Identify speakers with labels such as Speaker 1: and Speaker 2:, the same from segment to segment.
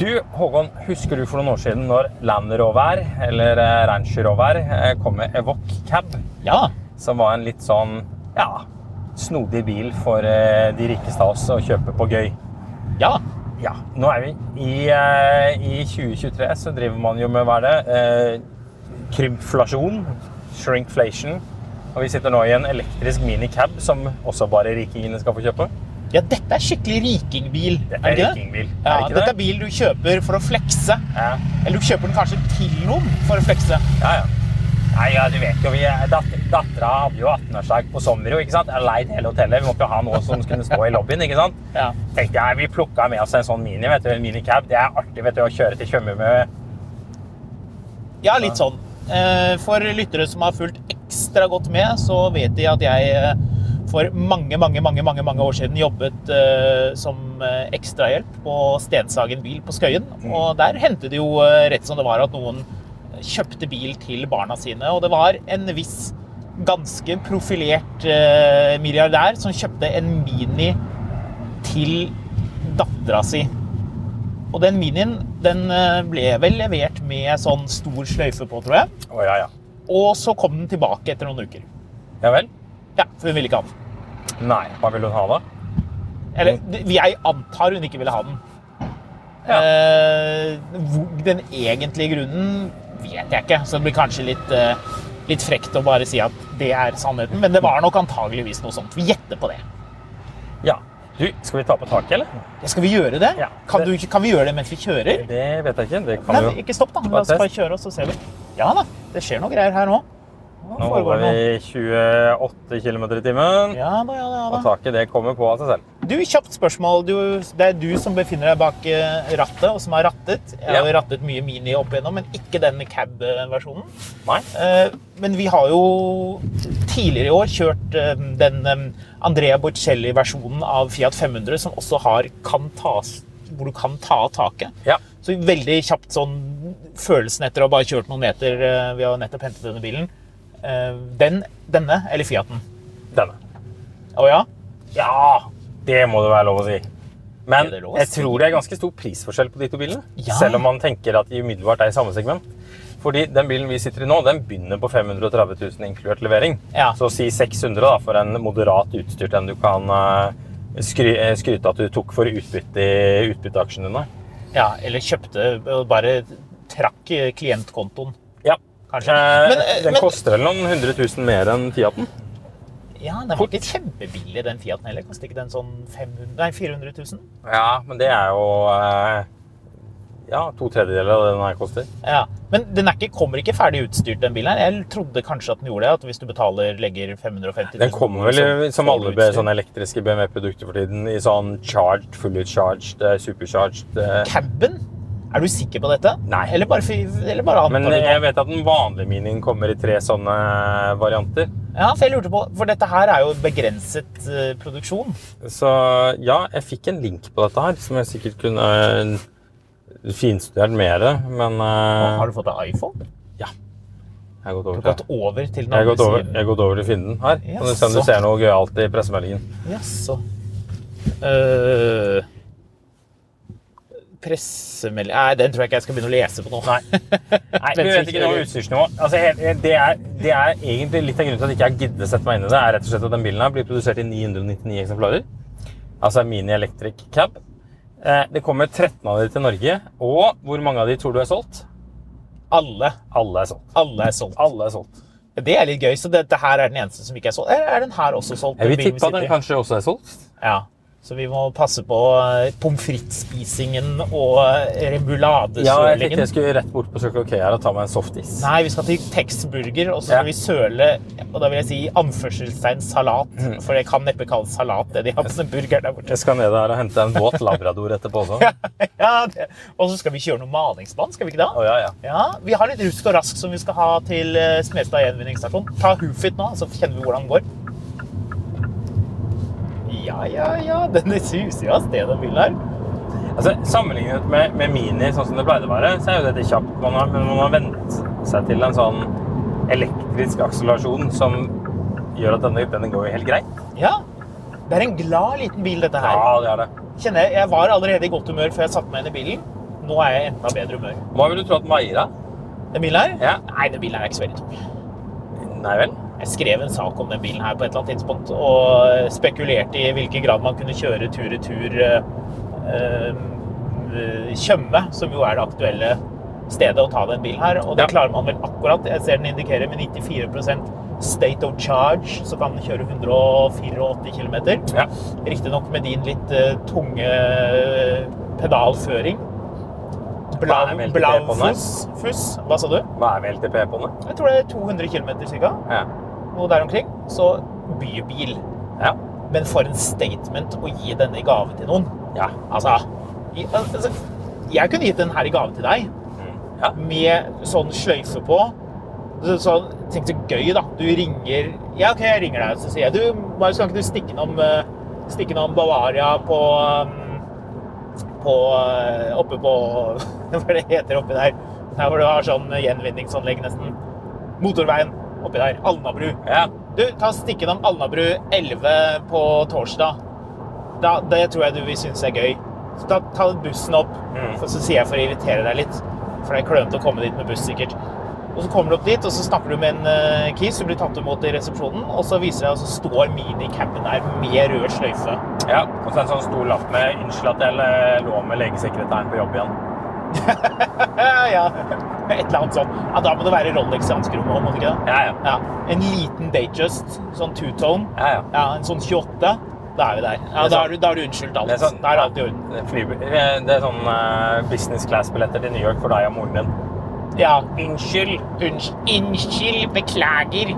Speaker 1: Du, Håkon, husker du for noen år siden når Land Rover, eller eh, Range Rover, eh, kom med Evoque Cab?
Speaker 2: Ja.
Speaker 1: Som var en litt sånn, ja, snodig bil for eh, de rikeste av oss å kjøpe på gøy.
Speaker 2: Ja.
Speaker 1: Ja, nå er vi i, eh, i 2023, så driver man jo med hva er det? Eh, krympflasjon, shrinkflation. Og vi sitter nå i en elektrisk minicab som også bare rikingene skal få kjøpe.
Speaker 2: Ja, dette er skikkelig rikingbil.
Speaker 1: Dette
Speaker 2: det
Speaker 1: er
Speaker 2: ikke det?
Speaker 1: rikingbil. Er
Speaker 2: Ja,
Speaker 1: det ikke
Speaker 2: dette
Speaker 1: det?
Speaker 2: er bil du kjøper for å flekse.
Speaker 1: Ja.
Speaker 2: Eller du kjøper den kanskje til noen for å flekse.
Speaker 1: Ja, ja. Nei, ja, du vet jo, vi er- datter, Dattera hadde jo 18-årsdag på Sommero. ikke sant? Jeg leid hele hotellet. Vi måtte jo ha noe som kunne stå i lobbyen. ikke sant?
Speaker 2: Ja.
Speaker 1: Tenkte jeg, Vi plukka med oss en sånn mini, vet du, en minicab. Det er artig vet du, å kjøre til Tjøme med
Speaker 2: Ja, litt sånn. Eh, For lyttere som har fulgt ekstra godt med, så vet de at jeg eh, for mange, mange, mange, mange, mange år siden jobbet eh, som eh, ekstrahjelp på Stenshagen bil på Skøyen. Og der hendte det jo eh, rett som det var at noen kjøpte bil til barna sine, og det var en viss ganske profilert eh, milliardær som kjøpte en Mini til dattera si. Og den minien den eh, ble vel levert med sånn stor sløyfe på, tror jeg.
Speaker 1: Å ja, ja.
Speaker 2: Og så kom den tilbake etter noen uker.
Speaker 1: Ja vel?
Speaker 2: Ja, For hun ville ikke ha den.
Speaker 1: Nei. Hva vil hun ha, da?
Speaker 2: Eller d- jeg antar hun ikke ville ha den.
Speaker 1: Ja.
Speaker 2: Eh, hvor- den egentlige grunnen vet jeg ikke, så det blir kanskje litt, eh, litt frekt å bare si at det er sannheten. Men det var nok antageligvis noe sånt. Vi gjetter på det.
Speaker 1: Ja. Du, Skal vi ta på taket, eller?
Speaker 2: Ja, skal vi gjøre det?
Speaker 1: Ja.
Speaker 2: Kan, du, kan vi gjøre det mens vi kjører?
Speaker 1: Det vet jeg ikke. Det kan
Speaker 2: Nei,
Speaker 1: jo.
Speaker 2: ikke stopp, da. La oss
Speaker 1: test.
Speaker 2: bare kjøre, og så ser vi. Ja da, det skjer noe greier her nå.
Speaker 1: Nå
Speaker 2: foregår
Speaker 1: holder
Speaker 2: det
Speaker 1: vi 28 km i timen.
Speaker 2: Ja da, ja da, ja
Speaker 1: Og
Speaker 2: da.
Speaker 1: taket det kommer på av seg selv.
Speaker 2: Du, kjapt spørsmål. Du, det er du som befinner deg bak eh, rattet, og som har rattet. Jeg har
Speaker 1: Ja.
Speaker 2: jo rattet mye Mini opp igjennom, men ikke den cab-versjonen.
Speaker 1: Nei?
Speaker 2: Eh, Men vi har jo tidligere i år kjørt eh, den eh, Andrea Bocelli-versjonen av Fiat 500, som også har kan tas, hvor du kan ta av taket.
Speaker 1: Ja.
Speaker 2: Så veldig kjapt sånn følelsen etter å ha bare kjørt noen meter eh, Vi har nettopp hentet denne bilen. Eh, Den, denne eller Fiaten?
Speaker 1: Denne.
Speaker 2: Å ja?
Speaker 1: Ja, det må det være lov å si. Men
Speaker 2: Er det lov å
Speaker 1: jeg
Speaker 2: si?
Speaker 1: tror det er ganske stor prisforskjell på de to bilene.
Speaker 2: Ja.
Speaker 1: Selv om man tenker at de umiddelbart er i samme segment. Fordi den bilen vi sitter i nå, den begynner på 530 000 inkludert levering.
Speaker 2: Ja.
Speaker 1: Så si 600 da, for en moderat utstyrt en du kan eh, skry eh, skryte at du tok for utbytte i utbytteaksjen din. da.
Speaker 2: Ja, eller kjøpte og bare trakk eh, klientkontoen,
Speaker 1: Ja.
Speaker 2: kanskje.
Speaker 1: Eh,
Speaker 2: Men, eh,
Speaker 1: den
Speaker 2: men-
Speaker 1: koster vel noen 100 000 mer enn Fiaten?
Speaker 2: Ja, den var ikke kjempebillig, den Fiaten heller. Kostet ikke den sånn 500, nei, 400 000?
Speaker 1: Ja, men det er jo eh, ja, to tredjedeler av det den her koster.
Speaker 2: Ja, Men den er ikke, kommer ikke ferdig utstyrt, den bilen her. Jeg trodde kanskje at den gjorde det. At hvis du betaler, legger 550 000
Speaker 1: Den kommer vel i-
Speaker 2: kroner, så
Speaker 1: som
Speaker 2: får
Speaker 1: alle
Speaker 2: du
Speaker 1: be-
Speaker 2: utstyr.
Speaker 1: sånne elektriske BMW-produkter for tiden, i sånn charged, fully charged, eh, supercharged eh.
Speaker 2: Cabben? Er du sikker på dette?
Speaker 1: Nei.
Speaker 2: Eller bare, fi- eller bare antar
Speaker 1: Men eh,
Speaker 2: du det?
Speaker 1: jeg vet at den vanlige minien kommer i tre sånne eh, varianter.
Speaker 2: Ja, for jeg lurte på, for dette her er jo begrenset eh, produksjon.
Speaker 1: Så ja, jeg fikk en link på dette her, som jeg sikkert kunne eh, finstudert mer, men eh,
Speaker 2: Har du fått deg iPhone?
Speaker 1: jeg har gått
Speaker 2: Du
Speaker 1: over til
Speaker 2: har gått over til den
Speaker 1: jeg har gått
Speaker 2: andre
Speaker 1: over,
Speaker 2: siden.
Speaker 1: jeg har gått over til å finne den her. Kan du se om du
Speaker 2: Jaså.
Speaker 1: ser noe gøyalt i pressemeldingen?
Speaker 2: Jaså. Eh, pressemelding Nei, den tror jeg ikke jeg skal begynne å lese på nå.
Speaker 1: Nei. Nei, vi vet ikke noe utstyrsnivå. Altså, he- det, er, det er egentlig litt av grunnen til at jeg ikke har giddet sette meg inn i det. er rett og slett at den bilen her blir produsert i 999 eksemplarer. Altså en Mini Electric Cab. Eh, Det kommer 13 av de til Norge. Og hvor mange av de tror du er solgt?
Speaker 2: Alle,
Speaker 1: Alle er solgt.
Speaker 2: alle er solgt.
Speaker 1: Alle er solgt.
Speaker 2: Det er litt gøy. Så dette her er den eneste som ikke er solgt. Eller er den her også solgt?
Speaker 1: Jeg vil
Speaker 2: bilen vi
Speaker 1: tippe at
Speaker 2: sitter i?
Speaker 1: den kanskje også er solgt.
Speaker 2: Ja. Så vi må passe på eh, pommes frites-spisingen og eh,
Speaker 1: Ja, jeg tenkte
Speaker 2: remuladesølingen.
Speaker 1: jeg skulle rett bort på Circle K her og ta meg en softis.
Speaker 2: Nei, vi skal til Texburger, og så skal
Speaker 1: Ja.
Speaker 2: vi søle Og da vil jeg si anførselstegn salat,
Speaker 1: Mm.
Speaker 2: for det kan neppe kalles salat, det de har på den burgeren der borte.
Speaker 1: Jeg skal ned der og hente en våt labrador etterpå også.
Speaker 2: Ja, det. Og så skal vi kjøre noe malingsbånd, skal vi ikke det?
Speaker 1: Å, ja, ja.
Speaker 2: Ja, Vi har litt rusk og rask som vi skal ha til eh, Smestad gjenvinningsstasjon. Ta Hoofit nå, så kjenner vi hvordan den går. Ja, ja, ja. Den suser jo av sted, den bilen her.
Speaker 1: Altså, sammenlignet med, med Mini, sånn som det pleide å være, så er jo dette kjapt. Man har, men man har vent seg til en sånn elektrisk akselerasjon som gjør at denne, denne går jo helt greit.
Speaker 2: Ja. Det er en glad liten bil, dette
Speaker 1: Ja,
Speaker 2: her.
Speaker 1: det er det.
Speaker 2: Kjenner jeg, jeg var allerede i godt humør før jeg satte meg inn i bilen. Nå er jeg i enda bedre humør.
Speaker 1: Hva vil du tro at den veier, da?
Speaker 2: Den bilen her?
Speaker 1: Ja.
Speaker 2: Nei, den bilen her er ikke så veldig tung.
Speaker 1: Nei vel?
Speaker 2: Jeg skrev en sak om den bilen her på et eller annet tidspunkt, og spekulerte i hvilken grad man kunne kjøre tur-retur eh, Tjøme, som jo er det aktuelle stedet å ta den bilen her. Og det
Speaker 1: Ja.
Speaker 2: klarer man vel akkurat. Jeg ser den indikerer med 94 state of charge, så kan den kjøre 184 km.
Speaker 1: Ja.
Speaker 2: Riktignok med din litt eh, tunge eh, pedalføring.
Speaker 1: Hva er
Speaker 2: Blau-
Speaker 1: veldig det på den her?
Speaker 2: Blaufuss. Fuss. Hva sa du?
Speaker 1: Hva er VLTP på den?
Speaker 2: Jeg tror det er 200 km cirka
Speaker 1: Ja.
Speaker 2: noe der omkring, så bybil.
Speaker 1: Ja.
Speaker 2: Men for en statement å gi denne i gave til noen.
Speaker 1: Ja.
Speaker 2: Altså, i- altså jeg kunne gitt den her i gave til deg,
Speaker 1: Mm. ja.
Speaker 2: med sånn sløyfe på. Så, så tenk så gøy, da. Du ringer Ja, OK, jeg ringer deg, så sier jeg Du, Marius, kan ikke du stikke innom, eh, stikke innom Bavaria på eh, på eh, Oppe på Hva det heter oppi der? Der hvor du har sånn gjenvinningsanlegg, nesten. Motorveien oppi der. Alnabru.
Speaker 1: ja.
Speaker 2: Du, ta stikken om Alnabru 11 på torsdag. Da, det tror jeg du vil synes er gøy. Så ta, ta bussen opp,
Speaker 1: Mm.
Speaker 2: og så sier jeg for å irritere deg litt. For det er klønete å komme dit med buss, sikkert. Og så kommer du opp dit, og så snakker du med en eh, kis, du blir tatt imot i resepsjonen, og så viser det, og så står minicapen der med rød sløyfe.
Speaker 1: ja. Og så en sånn stor lapp med 'Unnskyld at jeg le- lå med legesekretæren på jobb igjen'.
Speaker 2: Ja, ja. Et eller annet sånt. Ja, da må det være Rolex i hanskerommet, må det ikke det?
Speaker 1: Ja, ja.
Speaker 2: Ja. En liten Datejust, sånn two-tone.
Speaker 1: Ja, ja.
Speaker 2: Ja, en sånn 28. Da er vi der. Ja,
Speaker 1: Det er
Speaker 2: da
Speaker 1: sånn-
Speaker 2: er du, da er du unnskyldt alt.
Speaker 1: Det er sånn-
Speaker 2: Da er alt i orden.
Speaker 1: Det er fly- Det er sånn eh, business class-billetter til New York for deg og moren din.
Speaker 2: Ja.
Speaker 1: Unnskyld!
Speaker 2: Unns- Unnskyld, beklager.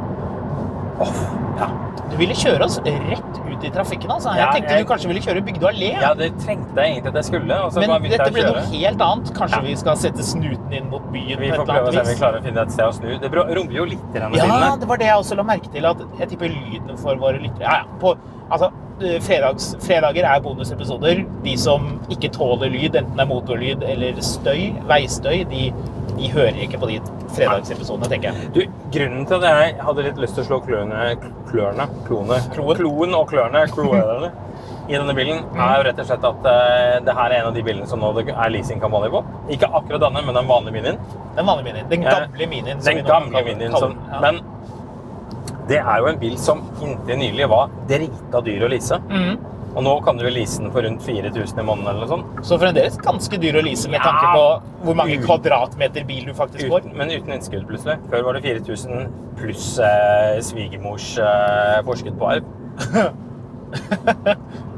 Speaker 1: Ja.
Speaker 2: Du ville kjøre oss rett ut i trafikken, altså. Jeg
Speaker 1: Ja,
Speaker 2: tenkte
Speaker 1: jeg-
Speaker 2: du kanskje ville kjøre Bygdø allé.
Speaker 1: ja, det trengte jeg egentlig at jeg skulle. Og så
Speaker 2: Men
Speaker 1: bare begynte jeg
Speaker 2: dette
Speaker 1: å
Speaker 2: ble noe
Speaker 1: kjøre.
Speaker 2: helt annet. Kanskje
Speaker 1: Ja.
Speaker 2: vi skal sette snuten inn mot byen
Speaker 1: Vi
Speaker 2: på
Speaker 1: får prøve
Speaker 2: et
Speaker 1: å se om
Speaker 2: eller
Speaker 1: vi
Speaker 2: annet vis.
Speaker 1: klarer å finne et sted å snu. Det bro- rommer jo litt i denne
Speaker 2: Ja,
Speaker 1: bilen. her.
Speaker 2: det var det jeg også la merke til. At jeg tipper lyden for våre lyttere Ja, ja. På, altså, eh, fredags, fredager er bonusepisoder. De som ikke tåler lyd, enten det er motorlyd eller støy, veistøy, de, de hører ikke på de fredagsepisodene, tenker jeg.
Speaker 1: Du, grunnen til at jeg hadde litt lyst til å slå klørne, klørne, klone,
Speaker 2: Kloen.
Speaker 1: kloen og klørne kloene, i denne bilen, er jo rett og slett at eh, det her er en av de bilene som nå det er leasingkampanje på. Ikke akkurat denne, men den vanlige minien.
Speaker 2: Den vanlige minien. Den
Speaker 1: Ja.
Speaker 2: gamle minien. som vi
Speaker 1: Den
Speaker 2: nå
Speaker 1: gamle
Speaker 2: kaller-
Speaker 1: minien.
Speaker 2: kaller
Speaker 1: Som,
Speaker 2: den. Ja.
Speaker 1: men det er jo en bil som inntil nylig var drita dyr å lease.
Speaker 2: Mhm.
Speaker 1: Og nå kan du vel lease den for rundt 4000 i måneden eller noe sånt.
Speaker 2: Så fremdeles ganske dyr å lease med
Speaker 1: Ja.
Speaker 2: tanke på hvor mange
Speaker 1: Mm.
Speaker 2: kvadratmeter bil du faktisk får.
Speaker 1: Uten, men uten innskudd, plutselig. Før var det 4000 pluss eh, svigermors eh, forskudd på arv.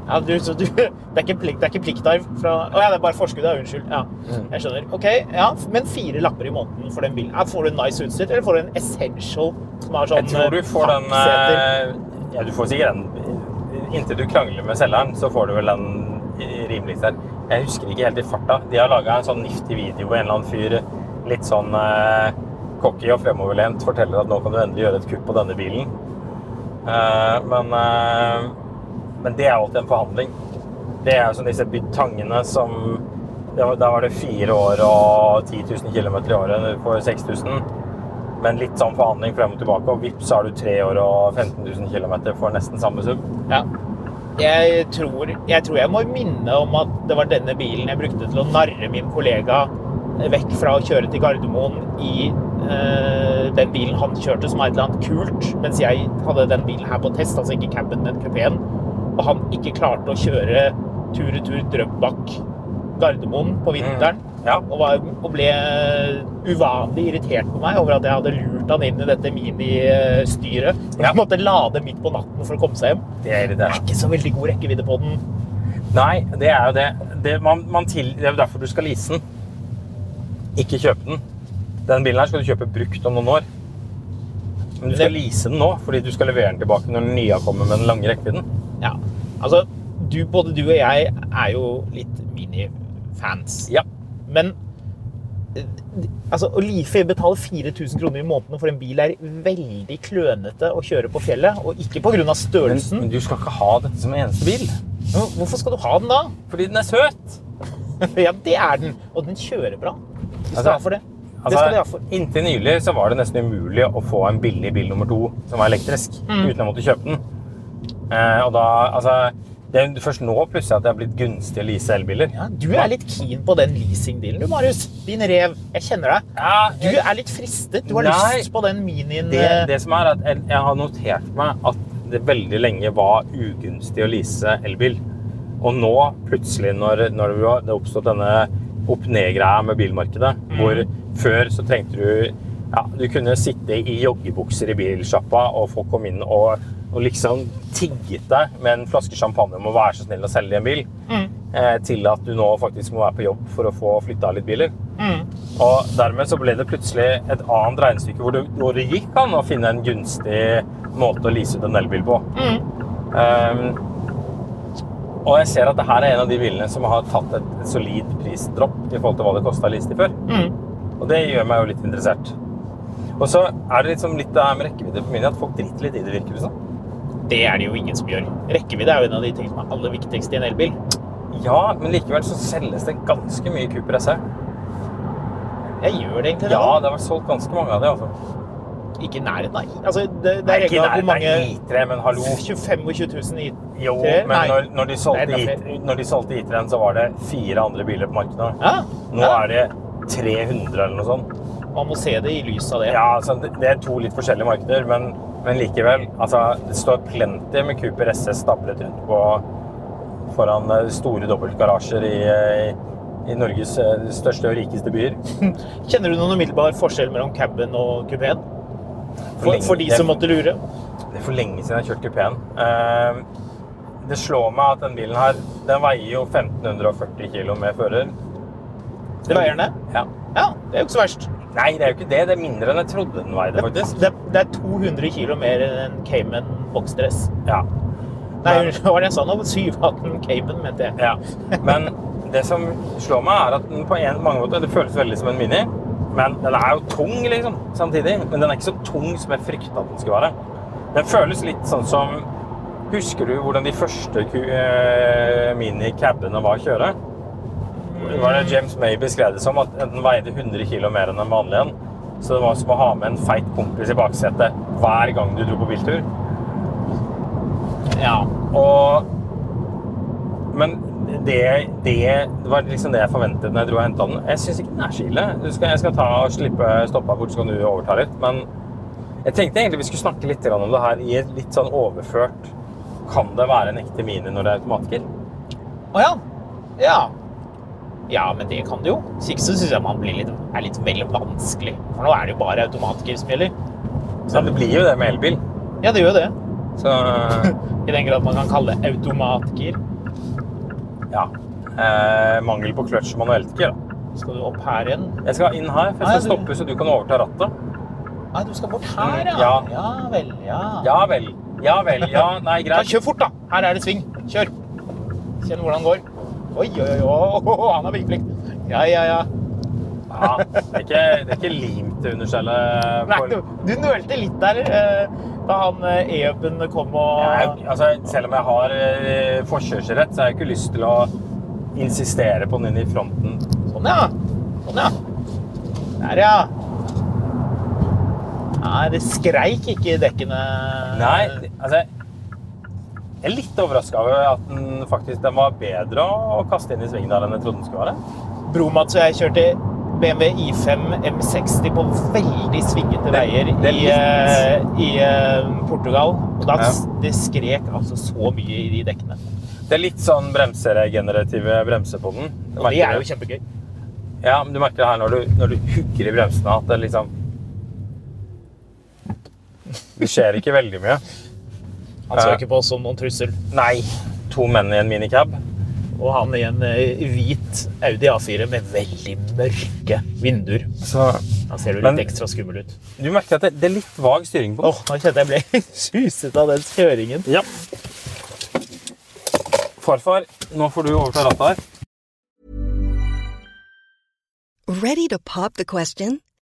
Speaker 2: Ja, du, så du, det, er ikke plikt, det er ikke pliktarv fra Å ja, det er bare forskudd, ja. Unnskyld. Ja,
Speaker 1: Mm.
Speaker 2: jeg skjønner. Ok, ja, Men fire lapper i måneden for den bilen. Ja, får du en nice utstyr, eller får du en essential som har sånn
Speaker 1: Jeg tror du får den
Speaker 2: pappseter?
Speaker 1: eh, Ja, du får sikkert den eh, Inntil du krangler med selgeren, så får du vel den i- rimelig selv. Jeg husker ikke helt i farta. De har laga en sånn nifty video hvor en eller annen fyr litt sånn eh, cocky og fremoverlent forteller at nå kan du endelig gjøre et kupp på denne bilen. Eh, men, eh, men det er alltid en forhandling. Det er jo som disse byttangene som det var- Da var det fire år og 10 000 km i året for 6000. Men litt sånn forhandling frem og tilbake, og vips, så har du tre år og 15 000 km for nesten samme sum.
Speaker 2: Ja. jeg tror, jeg tror jeg må minne om at det var denne bilen jeg brukte til å narre min kollega vekk fra å kjøre til Gardermoen i eh, den bilen han kjørte, som var et eller annet kult, mens jeg hadde den bilen her på test, altså ikke caben, men kupeen, og han ikke klarte å kjøre tur-retur Drøbak-Gardermoen på vinteren.
Speaker 1: Mm. Ja.
Speaker 2: Og, var, og ble uvanlig irritert på meg over at jeg hadde lurt han inn i dette mini-styret.
Speaker 1: Ja.
Speaker 2: Han måtte lade midt på natten for å komme seg hjem.
Speaker 1: Det er
Speaker 2: Det er
Speaker 1: irriterende.
Speaker 2: ikke så veldig god rekkevidde på den.
Speaker 1: Nei, det er jo det. Det, man, man til, det er jo derfor du skal lease den. Ikke kjøpe den. Den bilen her skal du kjøpe brukt om noen år. Men du skal
Speaker 2: Det-
Speaker 1: lease den nå, fordi du skal levere den tilbake når den nye kommer med den lange rekkevidden.
Speaker 2: Ja. Altså, du, både du og jeg er jo litt mini-fans.
Speaker 1: Ja.
Speaker 2: Men eh, altså, å life betale 4000 kroner i måneden for en bil er veldig klønete å kjøre på fjellet. Og ikke pga.
Speaker 1: Men,
Speaker 2: størrelsen.
Speaker 1: men du skal ikke ha dette som eneste bil.
Speaker 2: Men Hvorfor skal du ha den da?
Speaker 1: Fordi den er søt.
Speaker 2: Ja, det er den. Og den kjører bra. Du skal
Speaker 1: Altså,
Speaker 2: ha for det. Det skal du ha
Speaker 1: Altså,
Speaker 2: for.
Speaker 1: inntil nylig så var det nesten umulig å få en billig bil nummer to som var elektrisk,
Speaker 2: Mm.
Speaker 1: uten å måtte kjøpe den. Eh, og da, altså, det er jo først nå plutselig at det er blitt gunstig å lease elbiler.
Speaker 2: Ja, du er litt keen på den leasingdealen du, Marius. Din rev. Jeg kjenner deg.
Speaker 1: Ja,
Speaker 2: Du er litt fristet. Du har
Speaker 1: Nei.
Speaker 2: lyst på den minien.
Speaker 1: det,
Speaker 2: eh,
Speaker 1: det som er at jeg, jeg har notert meg at det veldig lenge var ugunstig å lease elbil. Og nå, plutselig, når, når det var- det oppstått denne opp-ned-greia med bilmarkedet, hvor før så trengte du ja, Du kunne sitte i joggebukser i bilsjappa, og folk kom inn og, og liksom tigget deg med en flaske champagne om å være så snill å selge en bil, eh, til at du nå faktisk må være på jobb for å få flytta litt biler. Og dermed så ble det plutselig et annet regnestykke hvor det, hvor det gikk an å finne en gunstig måte å lease ut en elbil på.
Speaker 2: Mm.
Speaker 1: Ehm, og jeg ser at det her er en av de bilene som har tatt et, et solid prisdropp i forhold til hva det kosta å lease de før.
Speaker 2: Mm.
Speaker 1: Og det gjør meg jo litt interessert. Og så er det liksom litt det her med rekkevidde på min, at folk driter litt i det, virker det som.
Speaker 2: Det er det jo ingen som gjør. Rekkevidde er jo en av de tingene som er aller viktigst i en elbil.
Speaker 1: Ja, men likevel så selges det ganske mye Cooper SE.
Speaker 2: Jeg gjør det egentlig. det,
Speaker 1: Ja,
Speaker 2: da.
Speaker 1: det har vært solgt ganske mange av de, altså.
Speaker 2: Ikke i nærheten av Altså, det, det er ikke hvor mange
Speaker 1: I3, men hallo.
Speaker 2: 25 og 20 000 i
Speaker 1: Jo,
Speaker 2: Tre?
Speaker 1: men
Speaker 2: Nei.
Speaker 1: når, når de solgte
Speaker 2: Nei, det er
Speaker 1: i- når de solgte I3-en, så var det fire andre biler på markedet.
Speaker 2: ja.
Speaker 1: Nå
Speaker 2: ja.
Speaker 1: er det 300 eller noe sånt.
Speaker 2: Man må se det i lys av det.
Speaker 1: Ja, altså, det det er to litt forskjellige markeder, men, men likevel. Altså, det står plenty med Cooper SS stablet rundt på foran eh, store dobbeltgarasjer i, eh, i Norges eh, største og rikeste byer.
Speaker 2: Kjenner du noen umiddelbar forskjell mellom caben og kupeen? For,
Speaker 1: lenge-
Speaker 2: for de
Speaker 1: det-
Speaker 2: som måtte lure.
Speaker 1: Det er for lenge siden jeg har kjørt kupeen. Eh, Det slår meg at den bilen her, den veier jo 1540 kilo med fører.
Speaker 2: Det veier den det?
Speaker 1: Ja.
Speaker 2: Ja, det er jo ikke så verst.
Speaker 1: Nei, det er jo ikke det. Det er mindre enn jeg trodde den veide,
Speaker 2: Det,
Speaker 1: faktisk.
Speaker 2: det, det er 200 kilo mer enn Cayman Boxdress.
Speaker 1: Ja.
Speaker 2: Nei,
Speaker 1: Men-
Speaker 2: unnskyld, hva var det jeg sa nå? 718 Cayman, mente jeg.
Speaker 1: ja. Men det som slår meg, er at den på en, mange måter Det føles veldig som en Mini. Men den er jo tung, liksom, samtidig. Men den er ikke så tung som jeg frykta at den skulle være. Den føles litt sånn som Husker du hvordan de første ku- eh, minicabene var å kjøre? Det var det James May beskrev det som, at den veide 100 kg mer enn den vanlige. en. Så det var som å ha med en feit kompis i baksetet hver gang du dro på biltur.
Speaker 2: Ja.
Speaker 1: Og Men det, det var liksom det jeg forventet når jeg dro og henta den. Jeg syns ikke den er så ille. Du skal, jeg skal ta og slippe stoppa bort, så kan du overta litt. Men jeg tenkte egentlig vi skulle snakke litt grann om det her i et litt sånn overført Kan det være en ekte mini når det er automatgir?
Speaker 2: Å ja. Ja. Ja, men det kan du jo. Hvis ikke så syns jeg man blir litt, er litt vel vanskelig. For nå er det jo bare automatgir som gjelder.
Speaker 1: Så det blir jo det med elbil.
Speaker 2: Ja, det gjør jo det.
Speaker 1: Så
Speaker 2: I den grad man kan kalle det automatgir.
Speaker 1: ja. Eh, mangel på kløtsj og manueltgir. da.
Speaker 2: Skal du opp her igjen?
Speaker 1: Jeg skal inn her, for
Speaker 2: Ah, ja,
Speaker 1: jeg
Speaker 2: du-
Speaker 1: skal stoppe så du kan overta rattet.
Speaker 2: Nei, du skal bort her, ja.
Speaker 1: Ja.
Speaker 2: Ja vel, ja.
Speaker 1: Ja vel. Ja vel. Ja, nei,
Speaker 2: Ja,
Speaker 1: greit.
Speaker 2: kjør fort, da. Her er det sving. Kjør. Kjenn hvordan det går. Oi, oi, oi, oi, han har vingeplikt. Ja, ja, ja.
Speaker 1: Ja, det er ikke, det er ikke limt til understellet.
Speaker 2: Nei,
Speaker 1: på-
Speaker 2: du, du nølte litt der eh, da han eh, e-upen kom
Speaker 1: Jeg er jo
Speaker 2: og
Speaker 1: ikke- altså, selv om jeg har eh, forkjørsrett, så har jeg ikke lyst til å insistere på den inn i fronten.
Speaker 2: Sånn, ja. Sånn, ja. Der, ja. Nei, det skreik ikke i dekkene.
Speaker 1: Nei, altså Jeg er litt overraska over at den faktisk den var bedre å kaste inn i svingen der enn jeg trodde den skulle være.
Speaker 2: Bromats og jeg kjørte BMW I5 M60 på veldig svingete veier
Speaker 1: det er
Speaker 2: i,
Speaker 1: litt-
Speaker 2: eh, i eh, Portugal. Og da,
Speaker 1: Ja.
Speaker 2: det skrek altså så mye i de dekkene.
Speaker 1: Det er litt sånn bremseregenerative bremser på den. Du
Speaker 2: Og det
Speaker 1: merker
Speaker 2: er jo
Speaker 1: det.
Speaker 2: kjempegøy.
Speaker 1: Ja, men du merker det her når du, når du hooker i bremsene, at det liksom Det skjer ikke veldig mye.
Speaker 2: Han så
Speaker 1: Ja.
Speaker 2: ikke på oss som noen trussel.
Speaker 1: Nei. To menn i en minicab.
Speaker 2: Og han i en eh, hvit Audi A4 med veldig mørke vinduer.
Speaker 1: Så
Speaker 2: Han ser jo litt
Speaker 1: Men-
Speaker 2: ekstra skummel ut.
Speaker 1: du merker at det, det er litt vag styring på
Speaker 2: Åh, nå kjente jeg ble suset av den kjøringen.
Speaker 1: Ja. Farfar, nå får du overta rattet her.
Speaker 3: Ready to pop the question?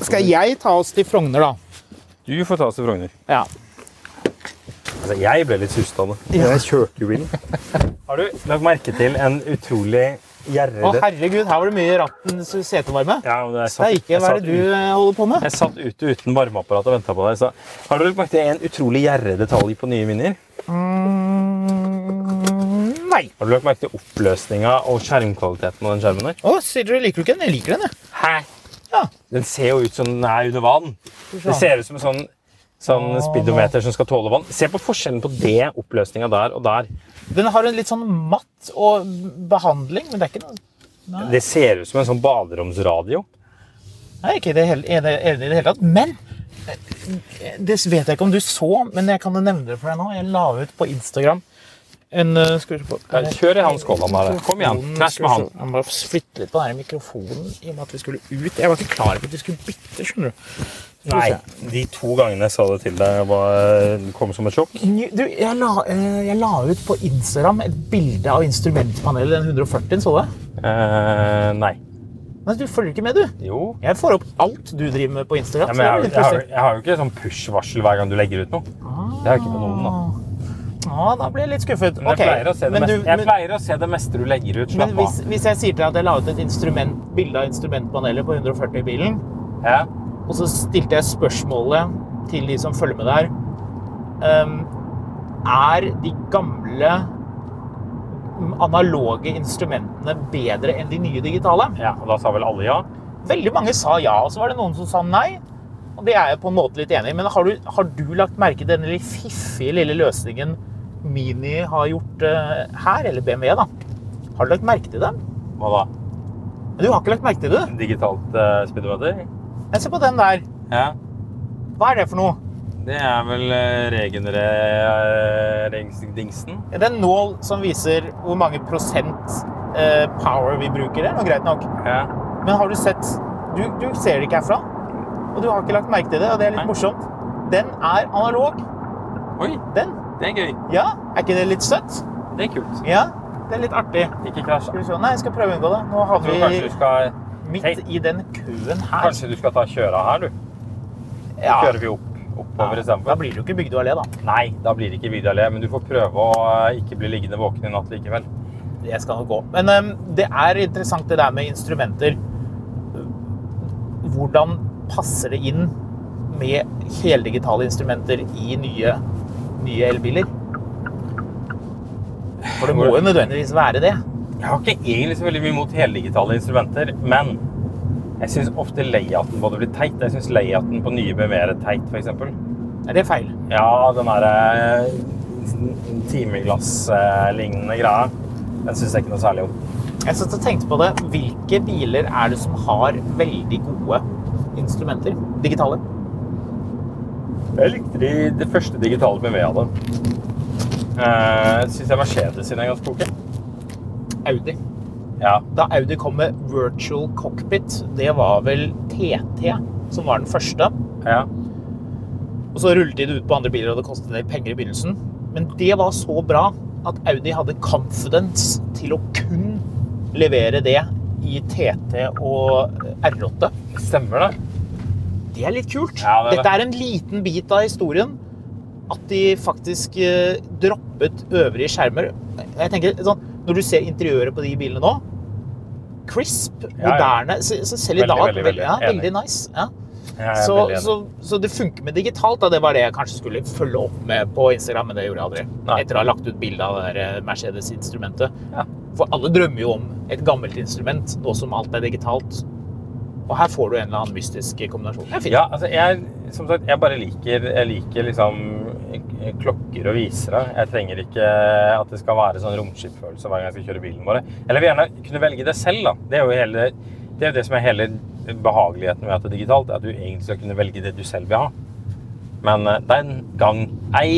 Speaker 2: Skal jeg ta oss til Frogner, da?
Speaker 1: Du får ta oss til Frogner.
Speaker 2: Ja.
Speaker 1: Altså, jeg ble litt suset av det. Jeg kjørte jo bilen. Har du lagt merke til en utrolig
Speaker 2: Å,
Speaker 1: gjerrete
Speaker 2: herregud, her var det mye rattens setevarme.
Speaker 1: Ja, men jeg satt-
Speaker 2: Steike,
Speaker 1: jeg
Speaker 2: hva
Speaker 1: satt
Speaker 2: er det du
Speaker 1: ut-
Speaker 2: eh, holder på med?
Speaker 1: Jeg satt ute uten varmeapparat og venta på deg. Så har du lagt merke til en utrolig gjerredetalj på nye minier? Mm,
Speaker 2: Nei.
Speaker 1: Har du lagt merke til oppløsninga og skjermkvaliteten av den skjermen der?
Speaker 2: Å, sier du liker du ikke den? Jeg liker den, jeg.
Speaker 1: Hæ?
Speaker 2: Ja.
Speaker 1: Den ser jo ut som den er under vann. Det ser ut som en sånn, sånn speedometer som skal tåle vann. Se på forskjellen på det oppløsninga der og der.
Speaker 2: Den har en litt sånn matt og behandling, men det er ikke noe
Speaker 1: Det ser ut som en sånn baderomsradio.
Speaker 2: Jeg er ikke i det hele, enig, enig i det hele tatt. Men eh, det vet jeg ikke om du så, men jeg kan nevne det for deg nå. Jeg la ut på Instagram en eh, Skal vi se på
Speaker 1: Ja, kjør i han skålen der. Kom igjen,
Speaker 2: Mikrofonen-
Speaker 1: knæsj med han.
Speaker 2: Jeg må bare flytte litt på den her mikrofonen i og med at vi skulle ut. Jeg var ikke klar over at vi skulle bytte, skjønner du. Skal vi
Speaker 1: Nei,
Speaker 2: se.
Speaker 1: de to gangene jeg sa det til deg, var, kom som et sjokk.
Speaker 2: Ny- Du, jeg la, eh, jeg la ut på Instagram et bilde av instrumentpanelet, den 140-en, så du det?
Speaker 1: Eh, nei.
Speaker 2: Nei, du følger ikke med, du.
Speaker 1: Jo.
Speaker 2: Jeg får opp alt du driver med på Instagram.
Speaker 1: Ja,
Speaker 2: så
Speaker 1: men jeg, har-
Speaker 2: det er litt
Speaker 1: jeg, har,
Speaker 2: pussig.
Speaker 1: jeg har jo ikke sånn push-varsel hver gang du legger ut noe. Det har jeg ikke på noen, da.
Speaker 2: Ja, da ble jeg litt skuffet.
Speaker 1: Men
Speaker 2: Ok,
Speaker 1: jeg, pleier å se det
Speaker 2: men du-
Speaker 1: meste, jeg
Speaker 2: men-
Speaker 1: pleier å se det meste du legger ut.
Speaker 2: Men
Speaker 1: Slapp av.
Speaker 2: hvis, hvis jeg sier til deg at jeg la ut et instrument, bilde av instrumentpanelet på 140 i bilen,
Speaker 1: Ja.
Speaker 2: og så stilte jeg spørsmålet til de som følger med der ehm, Er de gamle mm, analoge instrumentene bedre enn de nye digitale?
Speaker 1: ja, og da sa vel alle ja?
Speaker 2: Veldig mange sa ja, og så var det noen som sa nei. Og det er jeg på en måte litt enig i, men har du, har du lagt merke til denne litt fiffige lille løsningen Mini har gjort eh, her, eller BMW, da? Har du lagt merke til den?
Speaker 1: Hva da?
Speaker 2: Du har ikke lagt merke til det?
Speaker 1: Digitalt eh, speedometer?
Speaker 2: Jeg ser på den der.
Speaker 1: Ja.
Speaker 2: Hva er det for noe?
Speaker 1: Det er vel eh, regenereringsdingsen.
Speaker 2: Det er en nål som viser hvor mange prosent eh, power vi bruker. Det er noe greit nok.
Speaker 1: Ja.
Speaker 2: Men har du sett du, du ser det ikke herfra. Og du har ikke lagt merke til det, og det er
Speaker 1: Nei.
Speaker 2: litt morsomt. Den er analog.
Speaker 1: Oi,
Speaker 2: Den.
Speaker 1: det er gøy.
Speaker 2: Ja. Er ikke det litt søtt?
Speaker 1: Det er kult.
Speaker 2: Ja. Det er litt artig.
Speaker 1: Ikke krasj.
Speaker 2: Skal vi se. Nei, jeg skal prøve å unngå det. Nå
Speaker 1: Jeg tror kanskje
Speaker 2: havner
Speaker 1: du skal,
Speaker 2: vi midt i den køen her.
Speaker 1: kanskje du skal ta kjøra her, du.
Speaker 2: Ja.
Speaker 1: Kjører vi opp, oppover
Speaker 2: Da
Speaker 1: istedenfor?
Speaker 2: blir det jo ikke Bygdø allé, da.
Speaker 1: Nei, da blir det ikke Vidalé, men du får prøve å eh, ikke bli liggende våken i natt likevel.
Speaker 2: Jeg skal nok gå. Men øhm, det er interessant det der med instrumenter. Hvordan passer det inn med heldigitale instrumenter i nye, nye elbiler? For det må jo nødvendigvis være det.
Speaker 1: Jeg har ikke egentlig så veldig mye mot heldigitale instrumenter, men Jeg syns ofte layouten både blir teit. Jeg syns layouten på nye blir mer teit, f.eks.
Speaker 2: Er det feil?
Speaker 1: Ja, den derre timeglasslignende greia, den syns jeg ikke noe særlig om.
Speaker 2: Jeg satt og tenkte på det. Hvilke biler er det som har veldig gode instrumenter? Digitale.
Speaker 1: Jeg likte de, det første digitale BMW hadde. Uh, syns jeg Mercedes sine er ganske kloke.
Speaker 2: Audi.
Speaker 1: Ja.
Speaker 2: Da Audi kom med virtual cockpit, det var vel TT som var den første.
Speaker 1: ja.
Speaker 2: Og så rullet de det ut på andre biler, og det kostet en del penger i begynnelsen. Men det var så bra at Audi hadde confidence til å kun levere det i TT og R8.
Speaker 1: Stemmer det?
Speaker 2: Det er litt kult.
Speaker 1: Ja, det er det.
Speaker 2: Dette er en liten bit av historien. At de faktisk eh, droppet øvrige skjermer. Jeg tenker sånn, Når du ser interiøret på de bilene nå Crisp,
Speaker 1: Ja, ja.
Speaker 2: moderne så, så Selv i
Speaker 1: Veldig,
Speaker 2: dag
Speaker 1: veldig,
Speaker 2: veldig,
Speaker 1: veldig.
Speaker 2: ja,
Speaker 1: Enig.
Speaker 2: veldig nice. Ja.
Speaker 1: Jeg er
Speaker 2: Så,
Speaker 1: Eh, veldig enig.
Speaker 2: så, så det funker med digitalt. Da. Det var det jeg kanskje skulle følge opp med på Instagram, men det gjorde jeg aldri.
Speaker 1: Nei.
Speaker 2: Etter å ha lagt ut bilde av det der, eh, Mercedes-instrumentet.
Speaker 1: Ja.
Speaker 2: For alle drømmer jo om et gammelt instrument, nå som alt er digitalt. Og her får du en eller annen mystisk kombinasjon. Det er fint.
Speaker 1: Ja, altså jeg, som sagt, jeg bare liker, jeg liker liksom klokker og visere. Jeg trenger ikke at det skal være sånn romskipfølelse hver gang jeg skal kjøre bilen vår. Eller jeg vil gjerne kunne velge det selv, da. Det er jo hele, det, er jo det som er hele behageligheten ved at det er digitalt, at du egentlig skal kunne velge det du selv vil ha. Men eh, den gang ei,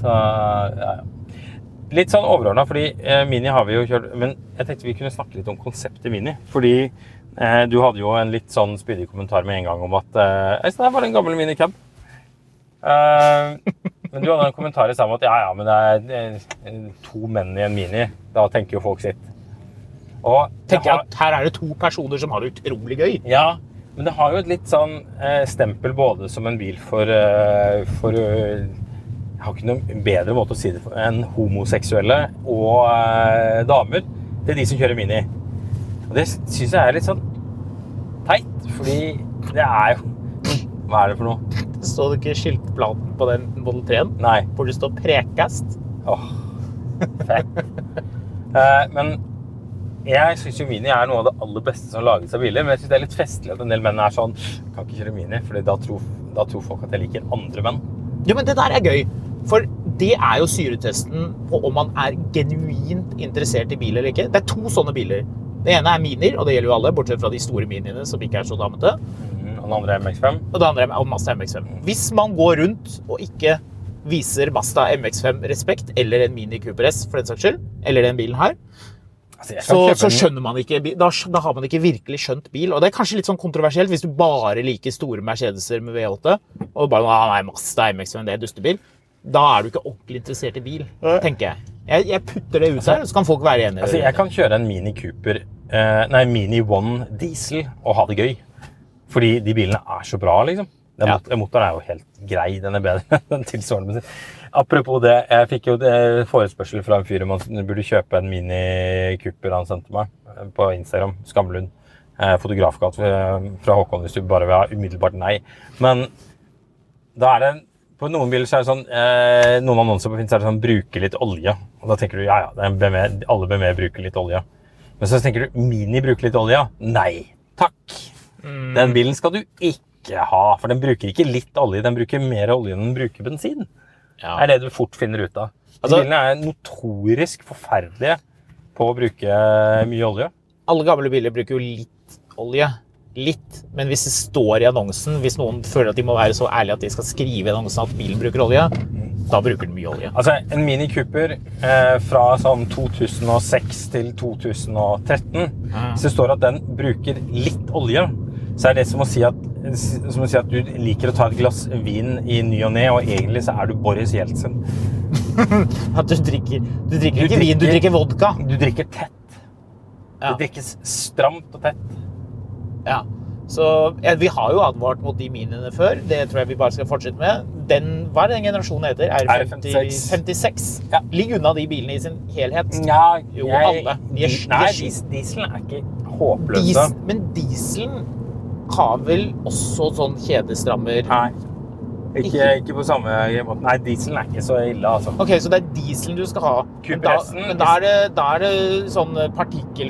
Speaker 1: så ja, ja. Litt sånn overordna, fordi eh, Mini har vi jo kjørt Men jeg tenkte vi kunne snakke litt om konseptet Mini. Fordi eh, du hadde jo en litt sånn spydig kommentar med en gang om at eh, «Nei, så Det er bare en gammel minicab. Eh, men du hadde en kommentar i sammen om at ja, ja, men det er eh, to menn i en Mini. Da tenker jo folk sitt. Og det
Speaker 2: Tenker
Speaker 1: har-
Speaker 2: jeg at Her er det to personer som har det utrolig gøy.
Speaker 1: ja, men det har jo et litt sånn eh, stempel både som en bil for, eh, for eh, Jeg har ikke noen bedre måte å si det på enn homoseksuelle og eh, damer. Det er de som kjører Mini. Og det syns jeg er litt sånn teit, fordi det er jo Hva er det for noe?
Speaker 2: Så du ikke skiltplaten på den Model 3-en?
Speaker 1: Nei.
Speaker 2: Hvor det står 'Prekast'?
Speaker 1: Åh, fett. Eh, men jeg syns jo Mini er noe av det aller beste som lages av biler. Men jeg synes det er litt festlig at en del menn er sånn Kan ikke kjøre Mini, for da, tror- da tror folk at jeg liker andre menn.
Speaker 2: Jo, men det der er gøy. For det er jo syretesten på om man er genuint interessert i bil eller ikke. Det er to sånne biler. Det ene er minier, og det gjelder jo alle, bortsett fra de store miniene som ikke er så damete.
Speaker 1: Mm, og den andre er MX5.
Speaker 2: Og det andre er Mazda MX5. Hvis man går rundt og ikke viser Mazda MX5 respekt, eller en Mini Cooper S for den saks skyld, eller den bilen her,
Speaker 1: Altså, jeg kan
Speaker 2: så,
Speaker 1: kjøpe
Speaker 2: så
Speaker 1: en-
Speaker 2: skjønner man ikke bi- da, skj- da har man ikke virkelig skjønt bil. Og det er kanskje litt sånn kontroversielt hvis du bare liker store Mercedeser med V8 og bare ah, nei, Mazda MX-5, det er dustebil. Da er du ikke ordentlig interessert i bil, tenker jeg. Jeg, jeg putter det ut her, så kan folk være enige.
Speaker 1: altså, jeg kan kjøre en Mini Cooper eh, Nei, Mini One diesel og ha det gøy. Fordi de bilene er så bra, liksom. Den
Speaker 2: Ja.
Speaker 1: mot- den motoren er jo helt grei. Den er bedre enn den tilsvarende. men- Apropos det, jeg fikk jo det forespørsel fra en fyr om han burde kjøpe en Mini Cooper han sendte meg eh, på Instagram. Skamlund. Eh, Fotografkatt eh, fra Håkon hvis du bare vil ha umiddelbart nei. Men da er det på noen biler så er det sånn eh, Noen annonser på Finn så er det sånn 'bruke litt olje'. Og da tenker du ja, ja, det er en BMW, alle BMW bruker litt olje. Men så tenker du 'Mini bruker litt olje'. Nei takk.
Speaker 2: Mm.
Speaker 1: Den bilen skal du ikke ha. For den bruker ikke litt olje, den bruker mer olje enn den bruker bensin.
Speaker 2: Ja.
Speaker 1: Det er det du fort finner ut av. De
Speaker 2: Altså-
Speaker 1: bilene er notorisk forferdelige på å bruke eh, mye olje.
Speaker 2: Alle gamle biler bruker jo litt olje. Litt. Men hvis det står i annonsen, hvis noen føler at de må være så ærlige at de skal skrive i annonsen at bilen bruker olje, da bruker den mye olje.
Speaker 1: Altså, en Mini Cooper eh, fra sånn 2006 til 2013 Hvis det står at den bruker litt olje, så er det som å si at, som å si at du liker å ta et glass vin i ny og ne, og egentlig så er du Boris Jeltsin.
Speaker 2: At du drikker, du drikker
Speaker 1: Du
Speaker 2: ikke vin, du
Speaker 1: drikker-
Speaker 2: drikker vodka.
Speaker 1: Du drikker tett.
Speaker 2: Ja.
Speaker 1: Det drikkes stramt og tett.
Speaker 2: Ja. Så ja, Vi har jo advart mot de miniene før. Det tror jeg vi bare skal fortsette med. Den, hva er det den generasjonen heter? R56.
Speaker 1: R56.
Speaker 2: 56.
Speaker 1: Ja. Mm,
Speaker 2: Ligg unna de bilene i sin helhet.
Speaker 1: Ja,
Speaker 2: Jo, alle. De er- de er
Speaker 1: nei,
Speaker 2: skit.
Speaker 1: dis- dieselen er ikke håpløs.
Speaker 2: Dis,
Speaker 1: da.
Speaker 2: men dieselen har vel også sånn kjedestrammer
Speaker 1: Nei. Ikke, ikke på samme måten. Nei, dieselen er ikke så ille, altså.
Speaker 2: Ok, så det er dieselen du skal ha. Men da,
Speaker 1: Kupressen.
Speaker 2: men da, er, det, da er det sånn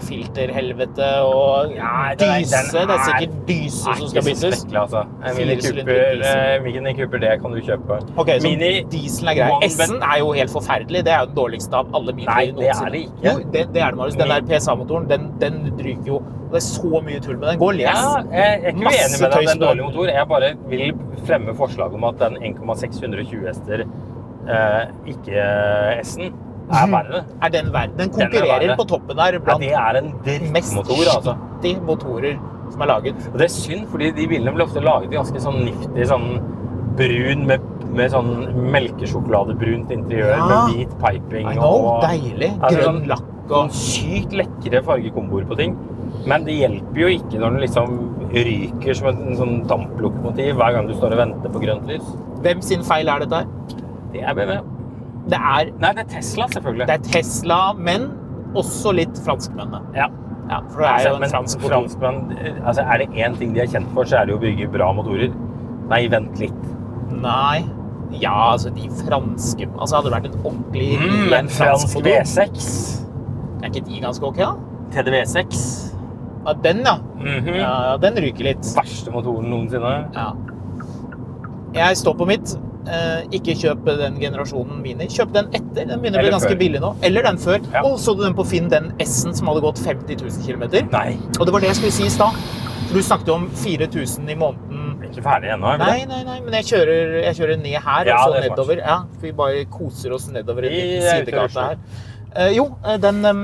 Speaker 2: partikkelfilterhelvete og
Speaker 1: Nei, den er- den
Speaker 2: dyse. Det er
Speaker 1: er-
Speaker 2: sikkert dyse som skal
Speaker 1: Ikke så
Speaker 2: byttes.
Speaker 1: spekkelig, altså. En Mini
Speaker 2: Firesylinder
Speaker 1: Cooper,
Speaker 2: diesel.
Speaker 1: eh, Mini Cooper, det kan du kjøpe.
Speaker 2: Ok, så
Speaker 1: Mini
Speaker 2: dieselen er grei.
Speaker 1: One
Speaker 2: S-en er jo helt forferdelig. Det er jo den dårligste av alle biler
Speaker 1: Nei, det er det ikke.
Speaker 2: Jo, det, det er det, Marius. Den
Speaker 1: Min-
Speaker 2: der PSA-motoren, den, den ryker jo. Det er så mye tull med den. Gå og les.
Speaker 1: Ja, jeg er ikke uenig
Speaker 2: Masse
Speaker 1: med deg at det er en
Speaker 2: tøys.
Speaker 1: dårlig motor. Jeg bare vil fremme forslaget om at den 1,620 hester, eh, ikke eh, S-en, er verre.
Speaker 2: Er den verden. Den
Speaker 1: Den er
Speaker 2: konkurrerer
Speaker 1: verre.
Speaker 2: på toppen der
Speaker 1: Ja,
Speaker 2: Mhm. blant
Speaker 1: det er en
Speaker 2: mest
Speaker 1: drittmotor, altså.
Speaker 2: skittige motorer som er laget.
Speaker 1: Og det er synd, fordi de bilene blir ofte laget i ganske sånn nifty sånn brun med, med sånn melkesjokoladebrunt interiør
Speaker 2: Ja.
Speaker 1: med hvit piping
Speaker 2: I know,
Speaker 1: og
Speaker 2: deilig.
Speaker 1: Altså,
Speaker 2: Grønn
Speaker 1: sånn-
Speaker 2: lakk
Speaker 1: sånn
Speaker 2: og
Speaker 1: sykt lekre fargekomboer på ting. Men det hjelper jo ikke når den liksom ryker som en sånn damplokomotiv hver gang du står og venter på grønt lys.
Speaker 2: Hvem sin feil er dette her?
Speaker 1: Det er BMW.
Speaker 2: Det er,
Speaker 1: Nei, det er Tesla, selvfølgelig.
Speaker 2: det er Tesla, men også litt franskmennene.
Speaker 1: Ja.
Speaker 2: Ja, for det er jo
Speaker 1: men
Speaker 2: en fransk motor.
Speaker 1: franskmenn altså, Er det én ting de er kjent for, så er det jo å bygge bra motorer. Nei, vent litt.
Speaker 2: Nei. Ja, altså de franske Altså hadde det vært en ordentlig
Speaker 1: Mm, en fransk
Speaker 2: motor,
Speaker 1: V6.
Speaker 2: Er ikke de ganske ok, da?
Speaker 1: TDV6.
Speaker 2: Ja, den, ja.
Speaker 1: Mhm.
Speaker 2: ja. ja, Den ryker litt.
Speaker 1: Verste motoren noensinne.
Speaker 2: Ja. Jeg står på mitt. Eh, ikke kjøp den generasjonen Mini. Kjøp den etter. Den begynner å bli
Speaker 1: Eller
Speaker 2: ganske
Speaker 1: før.
Speaker 2: billig nå. Eller den før.
Speaker 1: Ja.
Speaker 2: Og så du den på Finn, den S-en som hadde gått 50 000 km.
Speaker 1: Nei,
Speaker 2: Og det var det jeg skulle si i stad. For Du snakket om 4000 i måneden
Speaker 1: vi er ikke ferdig ennå. er vi
Speaker 2: Nei, nei, nei, men jeg kjører, jeg kjører ned
Speaker 1: Ja,
Speaker 2: her og
Speaker 1: det
Speaker 2: så
Speaker 1: er smart.
Speaker 2: nedover. Ja, for vi bare koser oss nedover i
Speaker 1: Vi
Speaker 2: den
Speaker 1: er ute i
Speaker 2: sidegata
Speaker 1: Oslo.
Speaker 2: her. Eh, jo, eh, den, em,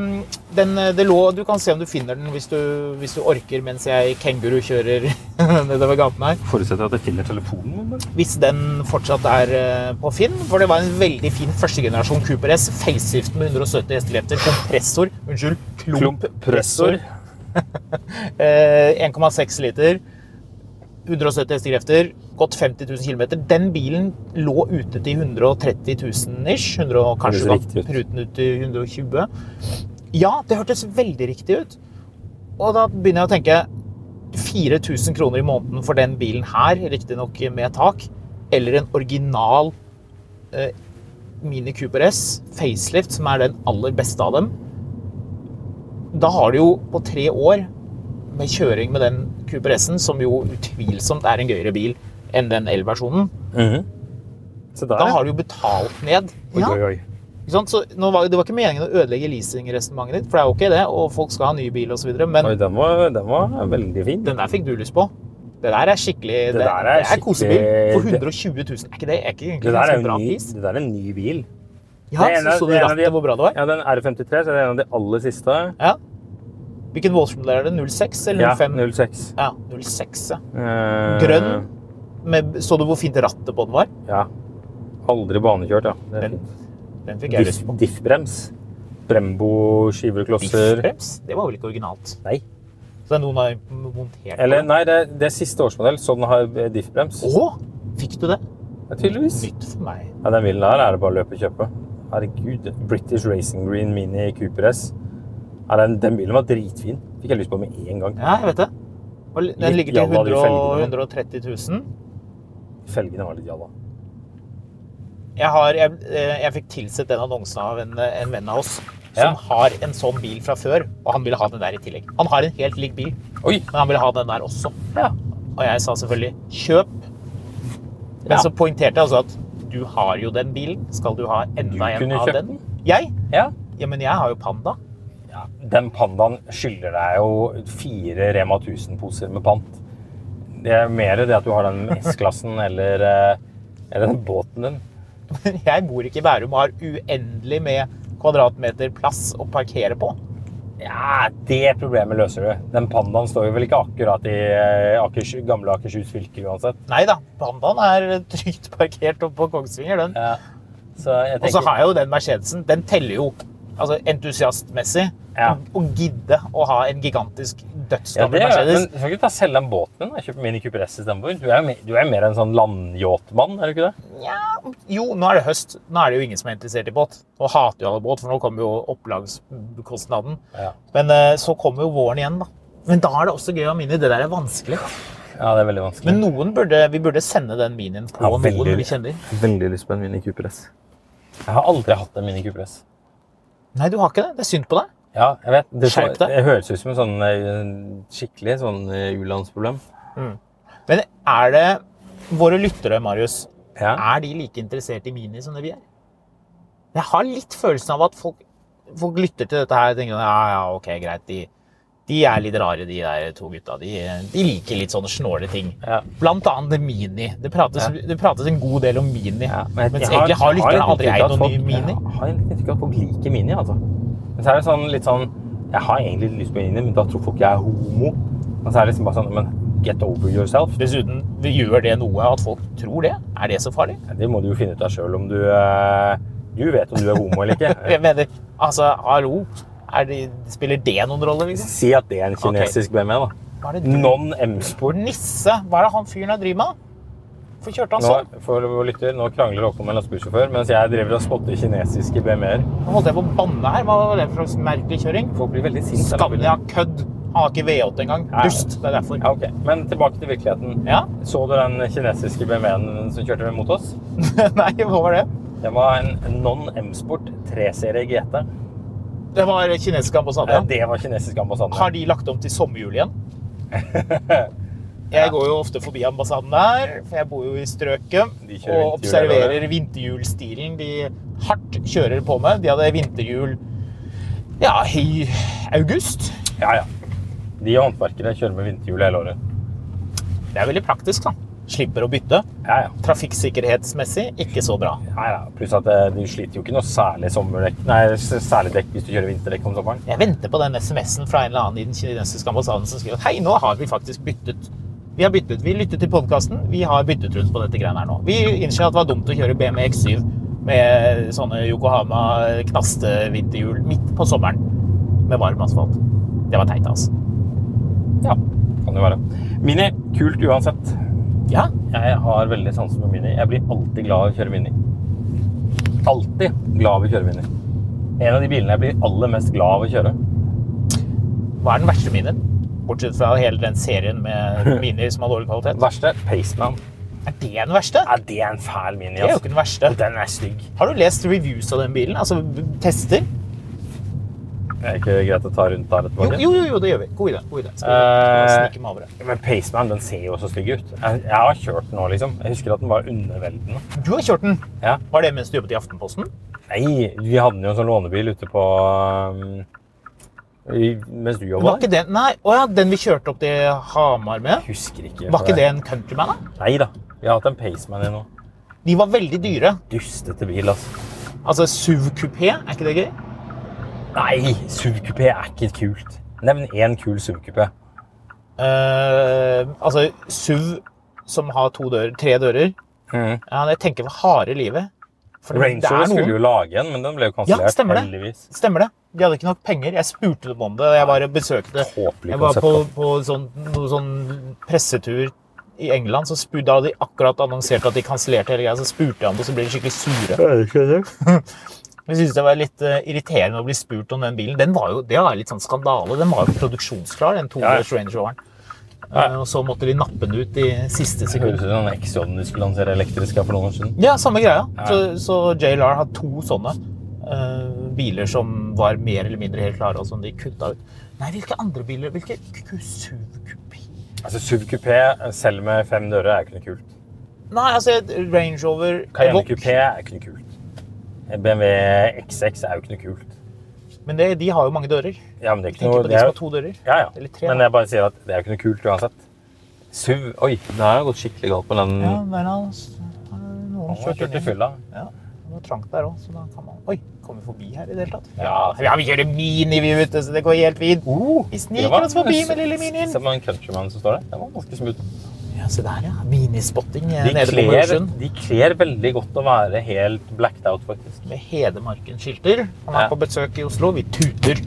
Speaker 2: den eh, det lå, Du kan se om du finner den hvis du, hvis du orker mens jeg kengurukjører nedover gaten her.
Speaker 1: det? Forutsetter at jeg finner telefonen min. bare.
Speaker 2: Hvis den fortsatt er eh, på Finn. For det var en veldig fin førstegenerasjon Cooper S. Facelift med 170 hestekrefter. Kompressor. Unnskyld.
Speaker 1: Klomppressor.
Speaker 2: Klomppressor. Eh, 1,6 liter. 170 hestekrefter, gått 50 000 km. Den bilen lå ute til 130 000 ish. 100, og kanskje
Speaker 1: Høres riktig
Speaker 2: var
Speaker 1: ut.
Speaker 2: pruten ut til 120 Ja, det hørtes veldig riktig ut. Og da begynner jeg å tenke 4000 kroner i måneden for den bilen her, riktignok med tak, eller en original eh, Mini Cooper S, facelift, som er den aller beste av dem. Da har du jo på tre år med kjøring med den Cooper S-en, som jo utvilsomt er en gøyere bil enn den el-versjonen,
Speaker 1: Se der,
Speaker 2: da
Speaker 1: ja.
Speaker 2: har du jo betalt ned.
Speaker 1: Oi,
Speaker 2: Ja,
Speaker 1: oi, oi.
Speaker 2: ikke sant? Så nå var, det var ikke meningen å ødelegge leasingresonnementet ditt, for det er jo ikke det, og folk skal ha ny bil osv., men
Speaker 1: Oi, den var, den var veldig fin.
Speaker 2: den der fikk du lyst på. Det der er skikkelig Det,
Speaker 1: der er
Speaker 2: det er
Speaker 1: skikkelig-
Speaker 2: kosebil for
Speaker 1: det-
Speaker 2: 120 000. Er ikke det er ikke egentlig
Speaker 1: Det der er
Speaker 2: ganske
Speaker 1: jo
Speaker 2: bra
Speaker 1: en ny,
Speaker 2: pris?
Speaker 1: det der er en ny bil.
Speaker 2: Ja,
Speaker 1: det er en
Speaker 2: så
Speaker 1: av-
Speaker 2: så du
Speaker 1: det er en av
Speaker 2: rattet
Speaker 1: de-
Speaker 2: hvor bra det var?
Speaker 1: Ja, den R53 så er det en av de aller siste.
Speaker 2: Ja. Hvilken Walsh-modell er det? 06 eller
Speaker 1: Ja,
Speaker 2: 05?
Speaker 1: 06.
Speaker 2: Ja, 06, ja.
Speaker 1: Eh,
Speaker 2: Grønn. Med, så du hvor fint rattet på den var?
Speaker 1: Ja. Aldri banekjørt, ja. Det er
Speaker 2: Den,
Speaker 1: fint.
Speaker 2: den fikk jeg lyst
Speaker 1: Diff-
Speaker 2: på.
Speaker 1: Diff-brems. Brembo, skiver og klosser.
Speaker 2: Biffbrems? Det var vel ikke originalt?
Speaker 1: Nei.
Speaker 2: Så det er noen har montert
Speaker 1: Eller,
Speaker 2: på det?
Speaker 1: nei, det, det er siste årsmodell, så den har eh, diff-brems.
Speaker 2: Å! Fikk du det?
Speaker 1: Ja, tydeligvis.
Speaker 2: Nytt for meg.
Speaker 1: Ja, den bilen her er det bare å løpe og kjøpe. Herregud, British Racing Green Mini Cooper S. Ja, den, den bilen var dritfin. Fikk jeg lyst på med en gang.
Speaker 2: Ja, jeg vet det. Og Den
Speaker 1: Litt
Speaker 2: ligger til
Speaker 1: jalla, de
Speaker 2: 100, og-
Speaker 1: felgene.
Speaker 2: 130 000.
Speaker 1: Felgene var litt jalla.
Speaker 2: Jeg, har, jeg, eh, jeg fikk tilsett den annonsen av en, eh, en venn av oss som
Speaker 1: Ja.
Speaker 2: har en sånn bil fra før, og han ville ha den der i tillegg. Han har en helt lik bil,
Speaker 1: Oi!
Speaker 2: men han ville ha den der også.
Speaker 1: Ja.
Speaker 2: Og jeg sa selvfølgelig kjøp. Men
Speaker 1: Ja.
Speaker 2: så poengterte jeg altså at du har jo den bilen. Skal du ha
Speaker 1: Du
Speaker 2: enda en
Speaker 1: kunne
Speaker 2: av
Speaker 1: kjøpt
Speaker 2: den?
Speaker 1: den.
Speaker 2: Jeg?
Speaker 1: Ja.
Speaker 2: Ja, men jeg har jo Panda.
Speaker 1: Den pandaen skylder deg jo fire Rema 1000-poser med pant. Det er mer det at du har den S-klassen eller, eh, eller den båten din.
Speaker 2: Jeg bor ikke i Bærum og har uendelig med kvadratmeter plass å parkere på.
Speaker 1: Ja, det problemet løser du. Den pandaen står jo vel ikke akkurat i eh, Akers, gamle Akershus fylke uansett.
Speaker 2: Nei da, Pandaen er trygt parkert oppe på Kongsvinger, den.
Speaker 1: Ja. Så jeg
Speaker 2: Og så
Speaker 1: tenker-
Speaker 2: har jeg jo den Mercedesen. Den teller jo altså entusiastmessig.
Speaker 1: Ja.
Speaker 2: Å gidde å ha en gigantisk
Speaker 1: Ja,
Speaker 2: dødsgammel
Speaker 1: det er, men
Speaker 2: Mercedes.
Speaker 1: du skal ikke ta selge den båten din og kjøpe Mini Cooper S istedenfor? Du er jo mer- du er jo mer en sånn landyachtmann, er du ikke det?
Speaker 2: Jo, nå er det høst. Nå er det jo ingen som er interessert i båt. Nå hater jo alle båt, for nå kommer jo opplagskostnaden.
Speaker 1: Ja.
Speaker 2: Men eh, så kommer jo våren igjen, da. Men da er det også gøy å minne. Det der er vanskelig.
Speaker 1: Ja, det er veldig vanskelig.
Speaker 2: Men noen burde, vi burde sende den minien på
Speaker 1: Ja,
Speaker 2: noen
Speaker 1: veldig.
Speaker 2: vi kjenner.
Speaker 4: Veldig lyst på en Mini Cooper S.
Speaker 1: Jeg har aldri hatt en Mini Cooper S.
Speaker 2: Nei, du har ikke det. Det er synd på deg.
Speaker 1: Ja, jeg vet. Det,
Speaker 2: Skjerp deg.
Speaker 1: det høres ut som en sånn eh, skikkelig sånn eh, u-landsproblem.
Speaker 2: Men er det våre lyttere, Marius,
Speaker 1: Ja.
Speaker 2: er de like interessert i mini som det vi er? Jeg har litt følelsen av at folk, folk lytter til dette her og tenker sånn, ja, ja, ok, greit, de, de er litt rare, de der to gutta. De, de liker litt sånne snåle ting.
Speaker 1: Ja.
Speaker 2: Blant annet mini. Det prates, det prates en god del om mini.
Speaker 1: Ja, men jeg-
Speaker 2: mens
Speaker 1: jeg har-
Speaker 2: egentlig har
Speaker 1: jeg
Speaker 2: lytterne
Speaker 1: litt
Speaker 2: aldri
Speaker 1: inntrykk av at
Speaker 2: eid noen ny
Speaker 1: folk-
Speaker 2: mini.
Speaker 1: Jeg har litt inntrykk av at folk liker Mini, altså. Men så er det sånn, litt sånn Jeg har egentlig lyst på Mini, men da tror folk jeg er homo. Og så er det liksom bare sånn Men get over yourself.
Speaker 2: Dessuten det gjør det noe at folk tror det. Er det så farlig?
Speaker 1: Det må du jo finne ut av sjøl om du eh, Du vet om du er homo eller
Speaker 2: Jeg
Speaker 1: ikke.
Speaker 2: mener, altså, hallo, er det, spiller det noen rolle, liksom?
Speaker 1: Si at det er en kinesisk BMW, da.
Speaker 2: Hva er det du
Speaker 1: Non M-sport.
Speaker 2: Nisse, hva er det han fyren her driver med? Hvorfor kjørte han
Speaker 1: Nå,
Speaker 2: sånn?
Speaker 1: for vår lytter, nå krangler Håkon med en lastebilsjåfør mens jeg driver og spotter kinesiske BMW-er.
Speaker 2: Nå holdt jeg på å banne her. Hva var det for slags merkelig kjøring?
Speaker 1: Folk blir veldig sinte. av lastebiler.
Speaker 2: Scania, kødd. Han har ikke V8 engang.
Speaker 1: Nei.
Speaker 2: Dust. Det er derfor.
Speaker 1: Ja, ok. Men tilbake til virkeligheten.
Speaker 2: Ja?
Speaker 1: Så du den kinesiske BMW-en som kjørte mot oss?
Speaker 2: Nei, hva var det?
Speaker 1: Det var en non-M-sport 3-serie GT.
Speaker 2: Det var kinesisk ambassade.
Speaker 1: Eh, Det var kinesisk ambassade.
Speaker 2: Har de lagt om til sommerjul igjen? Jeg går jo ofte forbi ambassaden der, for jeg bor jo i strøket.
Speaker 1: De kjører
Speaker 2: Og
Speaker 1: vinterhjul
Speaker 2: observerer vinterhjulstilen de hardt kjører på med. De hadde vinterhjul ja, i august.
Speaker 1: Ja, ja. De håndverkere kjører med vinterhjul hele året.
Speaker 2: Det er veldig praktisk, da. Slipper å bytte.
Speaker 1: Ja, ja.
Speaker 2: Trafikksikkerhetsmessig ikke så bra.
Speaker 1: ja, ja. Pluss at eh, du sliter jo ikke noe særlig sommerdekk, nei, s- særlig dekk hvis du kjører vinterdekk om sommeren.
Speaker 2: Jeg venter på den SMS-en fra en eller annen i den kinesiske ambassaden som skriver at hei, nå har vi faktisk byttet. Vi har byttet. Vi lyttet til podkasten. Vi har byttet rundt på dette greiene her nå. Vi innser at det var dumt å kjøre BMW X7 med sånne Yokohama-knastevinterhjul midt på sommeren med varm asfalt. Det var teit, altså.
Speaker 1: Ja, kan jo være. Mini, kult uansett.
Speaker 2: Ja,
Speaker 1: Jeg har veldig sansen for Mini. Jeg blir alltid glad av å kjøre Mini. Alltid glad av å kjøre Mini. En av de bilene jeg blir aller mest glad av å kjøre.
Speaker 2: hva er den verste minien? Bortsett fra hele den serien med minier som har dårlig kvalitet.
Speaker 1: Verste? Paceman.
Speaker 2: Er det den verste?
Speaker 1: Ja, det er en fæl Mini,
Speaker 2: Det er jo
Speaker 1: altså.
Speaker 2: ikke den verste.
Speaker 1: Og den er stygg.
Speaker 2: Har du lest reviews av den bilen? Altså b- tester?
Speaker 1: Det er ikke greit å ta rundt der
Speaker 2: Jo,
Speaker 1: etterpå.
Speaker 2: jo, jo, jo det gjør vi. God idé. God idé. Skal vi
Speaker 1: Eh,
Speaker 2: snike meg over det.
Speaker 1: Men Paceman den ser jo så stygg ut. Jeg, jeg har kjørt den nå, liksom. Jeg husker at den var underveldende.
Speaker 2: Du har kjørt den.
Speaker 1: Ja.
Speaker 2: Var det mens du jobbet i Aftenposten?
Speaker 1: Nei, vi hadde jo en sånn lånebil ute på um, i, Mens du jobba
Speaker 2: Var ikke den, nei, å ja, den vi kjørte opp til Hamar med?
Speaker 1: Husker ikke.
Speaker 2: Var ikke det en Countryman? da?
Speaker 1: Nei da. Vi har hatt en Paceman i nå.
Speaker 2: De var veldig dyre.
Speaker 1: Dustete bil, altså.
Speaker 2: Altså SUV kupé, er ikke det gøy?
Speaker 1: Nei, SUV-kupé er ikke kult. Nevn én kul SUV-kupé.
Speaker 2: Eh, altså SUV som har to dører, tre dører. Ja, jeg tenker for harde livet. For det-
Speaker 1: Mm. Range
Speaker 2: det er
Speaker 1: Rover skulle
Speaker 2: noen-
Speaker 1: jo lage en, men den ble jo
Speaker 2: Ja,
Speaker 1: kansellert.
Speaker 2: stemmer det.
Speaker 1: Heldigvis.
Speaker 2: Stemmer det. De hadde ikke nok penger. Jeg spurte dem om det. og Jeg bare besøkte
Speaker 1: Håpelig
Speaker 2: Jeg var
Speaker 1: konsept,
Speaker 2: på, på sånn, noe sånn pressetur i England, så spurte, da hadde de akkurat annonsert at de kansellerte hele greia, så spurte jeg om det, så ble de skikkelig sure. Jeg synes det var litt eh, irriterende å bli spurt om den bilen. Den var jo, det var litt sånn skandale. Den var jo produksjonsklar, den 200 Range Roveren. Eh, Og så måtte de nappe den ut i siste
Speaker 1: Det
Speaker 2: sekund.
Speaker 1: høres ut som en XJ du skulle lansere elektrisk her for noen år siden.
Speaker 2: Ja, samme greia. Så, så JLR har to sånne eh, biler som var mer eller mindre helt klare, og som de kutta ut. Nei, hvilke andre biler? Hvilke SUV-kupé?
Speaker 1: Altså, SUV-kupé, selv med fem dører, er ikke noe kult.
Speaker 2: Nei, altså et Range Rover
Speaker 1: Cayenne
Speaker 2: Evoque.
Speaker 1: Coupé er ikke noe kult. BMW XX er jo ikke noe kult.
Speaker 2: Men det, de har jo mange dører.
Speaker 1: Ja, men det er ikke
Speaker 2: Tenk
Speaker 1: noe...
Speaker 2: på de
Speaker 1: det er
Speaker 2: som
Speaker 1: jo-
Speaker 2: har to dører.
Speaker 1: Ja, ja.
Speaker 2: Eller tre,
Speaker 1: men
Speaker 2: da.
Speaker 1: jeg bare sier at det er jo ikke noe kult uansett. SUV... Oi, det her har gått skikkelig galt på den...
Speaker 2: Ja, men altså, noen
Speaker 1: Han har
Speaker 2: kjørte
Speaker 1: kjørt i
Speaker 2: inn i
Speaker 1: fylla.
Speaker 2: Ja, det var trangt der også, så da kan man... Oi, kommer vi forbi her i det hele tatt?
Speaker 1: Ja. Uh,
Speaker 2: ja vi kjører mini, vi vet du, så det går helt fint. vi
Speaker 1: Det
Speaker 2: sniker
Speaker 1: var-
Speaker 2: oss forbi med lille minien.
Speaker 1: Se på den countryman som står der. Det var ganske smooth.
Speaker 2: Ja, se der, ja. Minispotting eh,
Speaker 1: De
Speaker 2: nede på
Speaker 1: kler,
Speaker 2: Mørsund.
Speaker 1: de kler veldig godt å være helt blacked out, faktisk.
Speaker 2: Med Hedemarken-skilter. Han er
Speaker 1: Ja.
Speaker 2: på besøk i Oslo. Vi tuter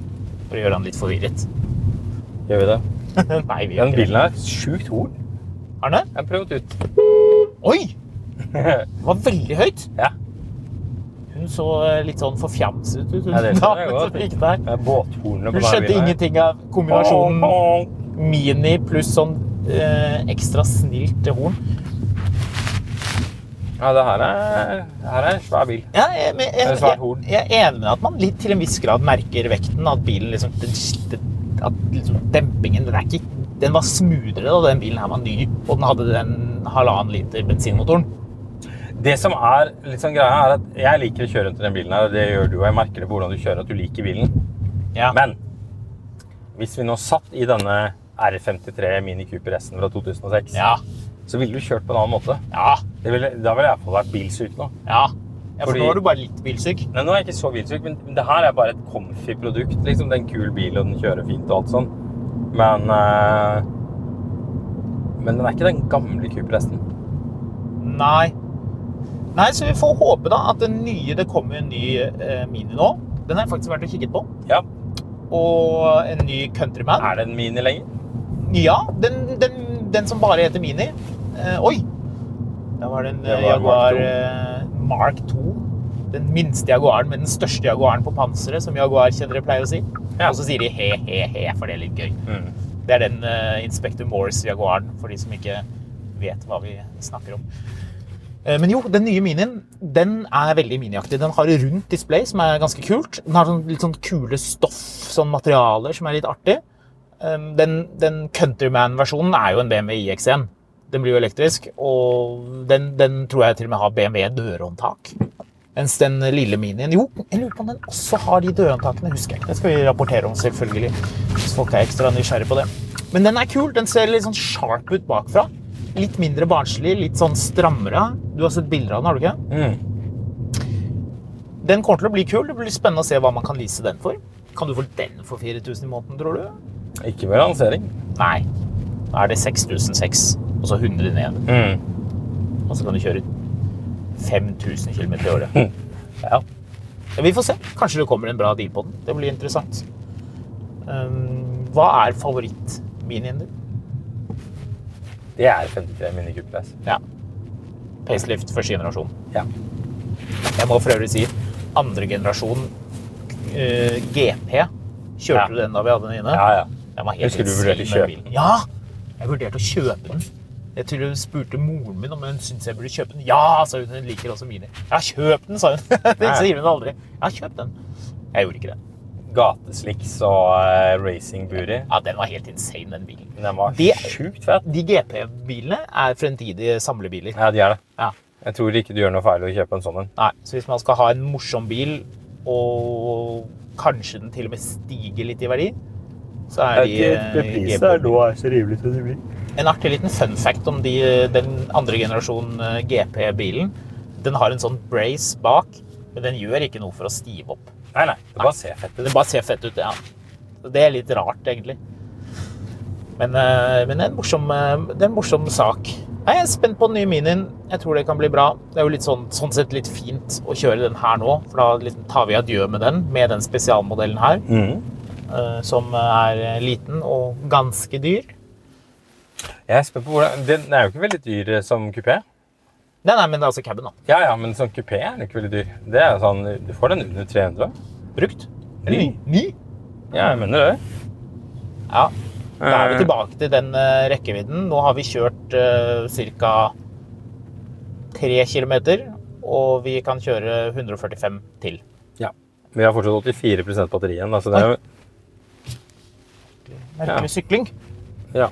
Speaker 2: for å gjøre han litt forvirret.
Speaker 1: Gjør vi det?
Speaker 2: Nei, vi
Speaker 1: Den
Speaker 2: gjør ikke det.
Speaker 1: bilen er sjukt horn.
Speaker 2: Arne?
Speaker 1: Jeg har prøvd ut.
Speaker 2: Oi! Det var veldig høyt.
Speaker 1: Ja.
Speaker 2: Hun så eh, litt sånn forfjamset ut. Hun,
Speaker 1: Ja, det skjønner jeg
Speaker 2: damen
Speaker 1: godt.
Speaker 2: som gikk der.
Speaker 1: Båthornene på
Speaker 2: hun
Speaker 1: denne
Speaker 2: skjønte
Speaker 1: bilen her.
Speaker 2: ingenting av kombinasjonen mini pluss sånn eh, ekstra snilt horn.
Speaker 1: Ja, det her er, her er en svær bil.
Speaker 2: Ja, jeg, men jeg,
Speaker 1: Det er svært horn.
Speaker 2: jeg, jeg er enig med at man litt, til en viss grad merker vekten. At bilen liksom den, den- At liksom dempingen Den, er ikke, den var smoothere da den bilen her var ny, og den hadde den halvannen liter bensinmotoren.
Speaker 1: Det som er litt sånn greia, er at jeg liker å kjøre rundt i den bilen her, og det gjør du, og jeg merker det på hvordan du kjører, at du liker bilen.
Speaker 2: Ja.
Speaker 1: Men hvis vi nå satt i denne R53 Mini Cooper S-en fra 2006,
Speaker 2: ja.
Speaker 1: så ville du kjørt på en annen måte.
Speaker 2: Ja.
Speaker 1: Det ville, da ville jeg i hvert fall vært bilsyk nå.
Speaker 2: Ja. ja for
Speaker 1: Fordi-
Speaker 2: nå er du bare litt bilsyk.
Speaker 1: Nei, nå er jeg ikke så bilsyk, men men det her er bare et comfy produkt. Liksom, det er en kul bil, og den kjører fint og alt sånn. Men eh, Men den er ikke den gamle Cooper S-en.
Speaker 2: Nei. Nei, så vi får håpe da at den nye Det kommer jo en ny eh, Mini nå. Den har jeg faktisk vært og kikket på.
Speaker 1: Ja.
Speaker 2: Og en ny Countryman.
Speaker 1: Er det en Mini lenger?
Speaker 2: Ja, den, den, den som bare heter Mini. Eh, oi! Da var det en
Speaker 1: Det var
Speaker 2: eh, Jaguar
Speaker 1: Mark II.
Speaker 2: eh, Mark 2. Den minste Jaguaren med den største Jaguaren på panseret, som Jaguar-kjennere pleier å si.
Speaker 1: Ja.
Speaker 2: Og så sier de he-he-he, for det er litt gøy.
Speaker 1: Mm.
Speaker 2: Det er den eh, Inspector Morse-Jaguaren, for de som ikke vet hva vi snakker om. Eh, Men jo, den nye Minien den er veldig miniaktig. Den har et rundt display, som er ganske kult. Den har sånn, litt sånn kule stoff, sånn materialer, som er litt artig. Um, Den, den Countryman-versjonen er jo en BMW IX1. Den blir jo elektrisk, og den, den tror jeg til og med har BMW-dørhåndtak. Mens den lille minien Jo, jeg lurer på om den også har de dørhåndtakene. husker jeg ikke. Det skal vi rapportere om, selvfølgelig. Hvis folk er ekstra nysgjerrig på det. Men den er kul. Den ser litt sånn sharp ut bakfra. Litt mindre barnslig, litt sånn strammere. Du har sett bilder av den, har du ikke?
Speaker 1: Mm.
Speaker 2: Den kommer til å bli kul. Det blir spennende å se hva man kan lease den for. Kan du få den for 4000 i måneden, tror du?
Speaker 1: Ikke med lansering.
Speaker 2: Nei. Da er det 6006, og så 100 ned.
Speaker 1: Mm.
Speaker 2: Og så kan du kjøre 5000 km i året.
Speaker 1: Mm.
Speaker 2: Ja. Ja, Vi får se. Kanskje det kommer en bra deal på den. Det blir interessant. Um, hva er favorittminien din?
Speaker 1: Det er 53 Mini Cooper S.
Speaker 2: Ja. Pacelift første generasjon.
Speaker 1: Ja.
Speaker 2: Jeg må for øvrig si andre generasjon eh, GP. Kjørte
Speaker 1: Ja.
Speaker 2: du den da vi hadde den inne?
Speaker 1: Ja, ja.
Speaker 2: Den var helt
Speaker 1: Husker du vurderte å
Speaker 2: insane,
Speaker 1: kjøpe
Speaker 2: den bilen. Ja! Jeg vurderte å kjøpe den. Jeg tror jeg spurte moren min om hun syntes jeg burde kjøpe den. Ja, sa hun. Hun liker også mini. Ja, kjøp den, sa hun. Det
Speaker 1: Nei.
Speaker 2: sier hun aldri. Ja, kjøp den. Jeg gjorde ikke det.
Speaker 1: Gateslicks og eh, racing booty.
Speaker 2: Ja, den var helt insane, den bilen.
Speaker 1: Den var
Speaker 2: Det-
Speaker 1: sjukt fet.
Speaker 2: De GP-bilene er fremtidige samlebiler.
Speaker 1: Ja, de er det.
Speaker 2: Ja.
Speaker 1: Jeg tror ikke du gjør noe feil å kjøpe en sånn en.
Speaker 2: Nei, så hvis man skal ha en morsom bil, og kanskje den til og med stiger litt i verdi, så er de eh, GP.
Speaker 1: er så rimelig som det blir.
Speaker 2: En artig liten fun fact om de, den andre generasjon eh, GP-bilen. Den har en sånn brace bak, men den gjør ikke noe for å stive opp.
Speaker 1: Nei, nei. Det bare ser fett ut.
Speaker 2: Den bare ser fett ut, ja. Så Det er litt rart, egentlig. Men, eh, men det, er en morsom, eh, det er en morsom sak. Nei, Jeg er spent på den nye Minien. Jeg tror det kan bli bra. Det er jo litt sånn, sånn sett litt fint å kjøre den her nå, for da liksom tar vi adjø med den, med den spesialmodellen her, eh, som er eh, liten og ganske dyr.
Speaker 1: Jeg er spent på hvordan Den er jo ikke veldig dyr eh, som kupé.
Speaker 2: Nei, nei, men det er altså caben, da.
Speaker 1: Ja, ja, men sånn kupé er den ikke veldig dyr. Det er sånn, Du får den under 300.
Speaker 2: Brukt.
Speaker 1: Ny.
Speaker 2: Ny?
Speaker 1: Ja, jeg mener det.
Speaker 2: Ja. Da er vi tilbake til den eh, rekkevidden. Nå har vi kjørt eh, ca. 3 km, og vi kan kjøre 145 til.
Speaker 1: Ja. Vi har fortsatt 84 batteri igjen. da, så det er jo
Speaker 2: Merker
Speaker 1: Ja.
Speaker 2: vi sykling?
Speaker 1: Ja.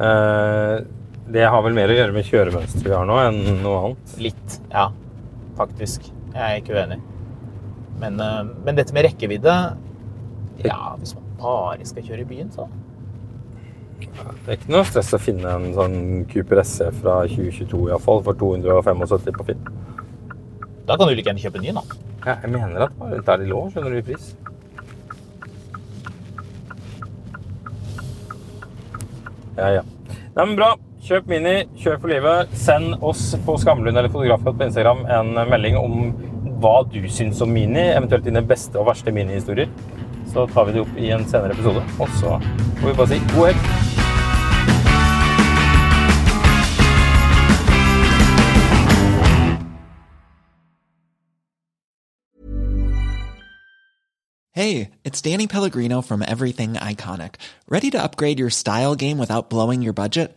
Speaker 1: Eh, det har vel mer å gjøre med kjøremønsteret vi har nå, enn noe annet.
Speaker 2: Litt, ja. Faktisk. Jeg er ikke uenig. Men, eh, men dette med rekkevidde Ja, hvis man bare skal kjøre i byen, så
Speaker 1: Det er ikke noe stress å finne en sånn Cooper SE fra 2022 i hvert fall, for 275 på Finn.
Speaker 2: Da kan du like gjerne kjøpe en ny, da.
Speaker 1: Ja, jeg mener at det var litt der de lå, skjønner du, i pris. Ja, ja. Nei, men bra. Kjøp Mini, kjør for livet. Send oss på Skamlund eller Fotografet på Instagram en melding om hva du syns om Mini, eventuelt dine beste og verste Mini-historier. Så tar vi det opp i en senere episode, og så får vi bare si god helg.
Speaker 5: Hey, it's Danny Pellegrino from Everything Iconic. Ready to upgrade your style game without blowing your budget?